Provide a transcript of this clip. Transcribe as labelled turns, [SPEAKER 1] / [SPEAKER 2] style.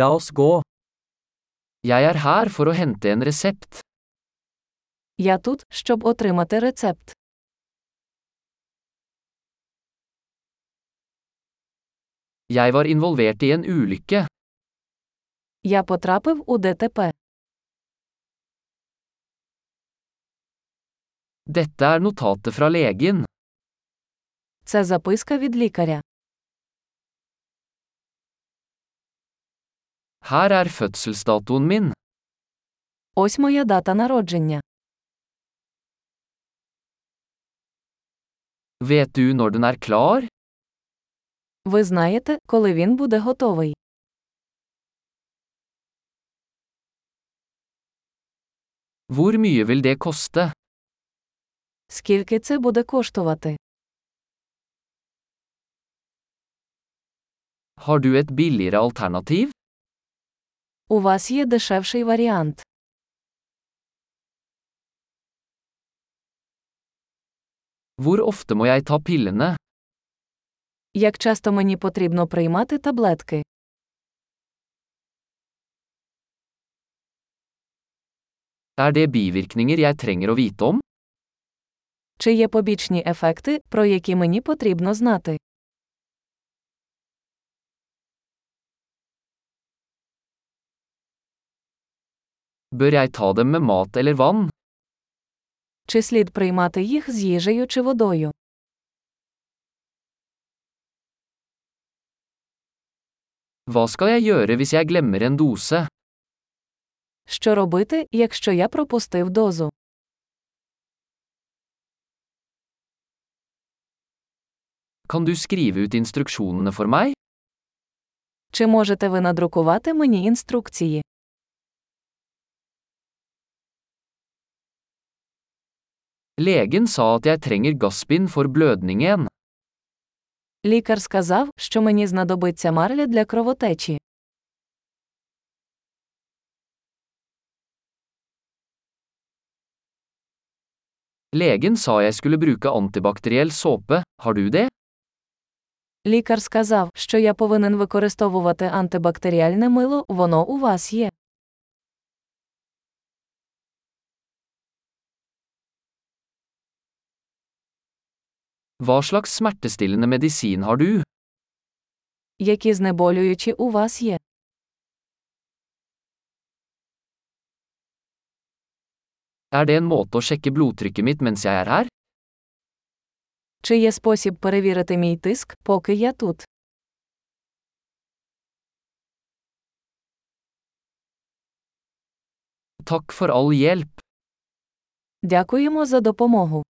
[SPEAKER 1] La oss gå. Jeg er her for å hente en resept.
[SPEAKER 2] Я тут, щоб отримати рецепт.
[SPEAKER 1] Jeg var involvert i en ulykke.
[SPEAKER 2] Я потрапив у ДТП.
[SPEAKER 1] Dette er notatet fra legen.
[SPEAKER 2] Це записка від лікаря.
[SPEAKER 1] Her er fødselsdatoen min.
[SPEAKER 2] Ось моя дата народження.
[SPEAKER 1] Vet du når den er klar?
[SPEAKER 2] Ви знаєте, коли він буде готовий.
[SPEAKER 1] Hvor mye vil det koste?
[SPEAKER 2] Скільки це буде коштувати?
[SPEAKER 1] Har du et billigere alternativ?
[SPEAKER 2] У вас є дешевший варіант.
[SPEAKER 1] Hvor ofte må jeg ta pillene?
[SPEAKER 2] Як часто мені потрібно приймати таблетки?
[SPEAKER 1] Er det bivirkninger jeg trenger å vite om?
[SPEAKER 2] Чи є побічні ефекти, про які мені потрібно знати?
[SPEAKER 1] Bør jeg ta dem med mat eller vann?
[SPEAKER 2] Чи слід приймати їх з їжею чи водою?
[SPEAKER 1] Hva skal jeg gjøre hvis jeg glemmer en dose?
[SPEAKER 2] Що робити, якщо я пропустив дозу?
[SPEAKER 1] Kan du skrive ut instruksjonene for meg?
[SPEAKER 2] Чи можете ви надрукувати мені інструкції?
[SPEAKER 1] Legen sa at jeg trenger gasspinn for blødningen.
[SPEAKER 2] Лікар сказав, що мені знадобиться марля для кровотечі.
[SPEAKER 1] Legen sa jeg skulle bruke antibakteriell såpe, har du det?
[SPEAKER 2] Лікар сказав, що я повинен використовувати антибактеріальне мило, воно у вас є.
[SPEAKER 1] Hva slags smertestillende medisin har du?
[SPEAKER 2] Які знеболюючі у вас є?
[SPEAKER 1] Er det en måte å sjekke blodtrykket mitt mens jeg er her?
[SPEAKER 2] Чи є спосіб перевірити мій тиск, поки я тут?
[SPEAKER 1] Takk for all hjelp.
[SPEAKER 2] Дякуємо за допомогу.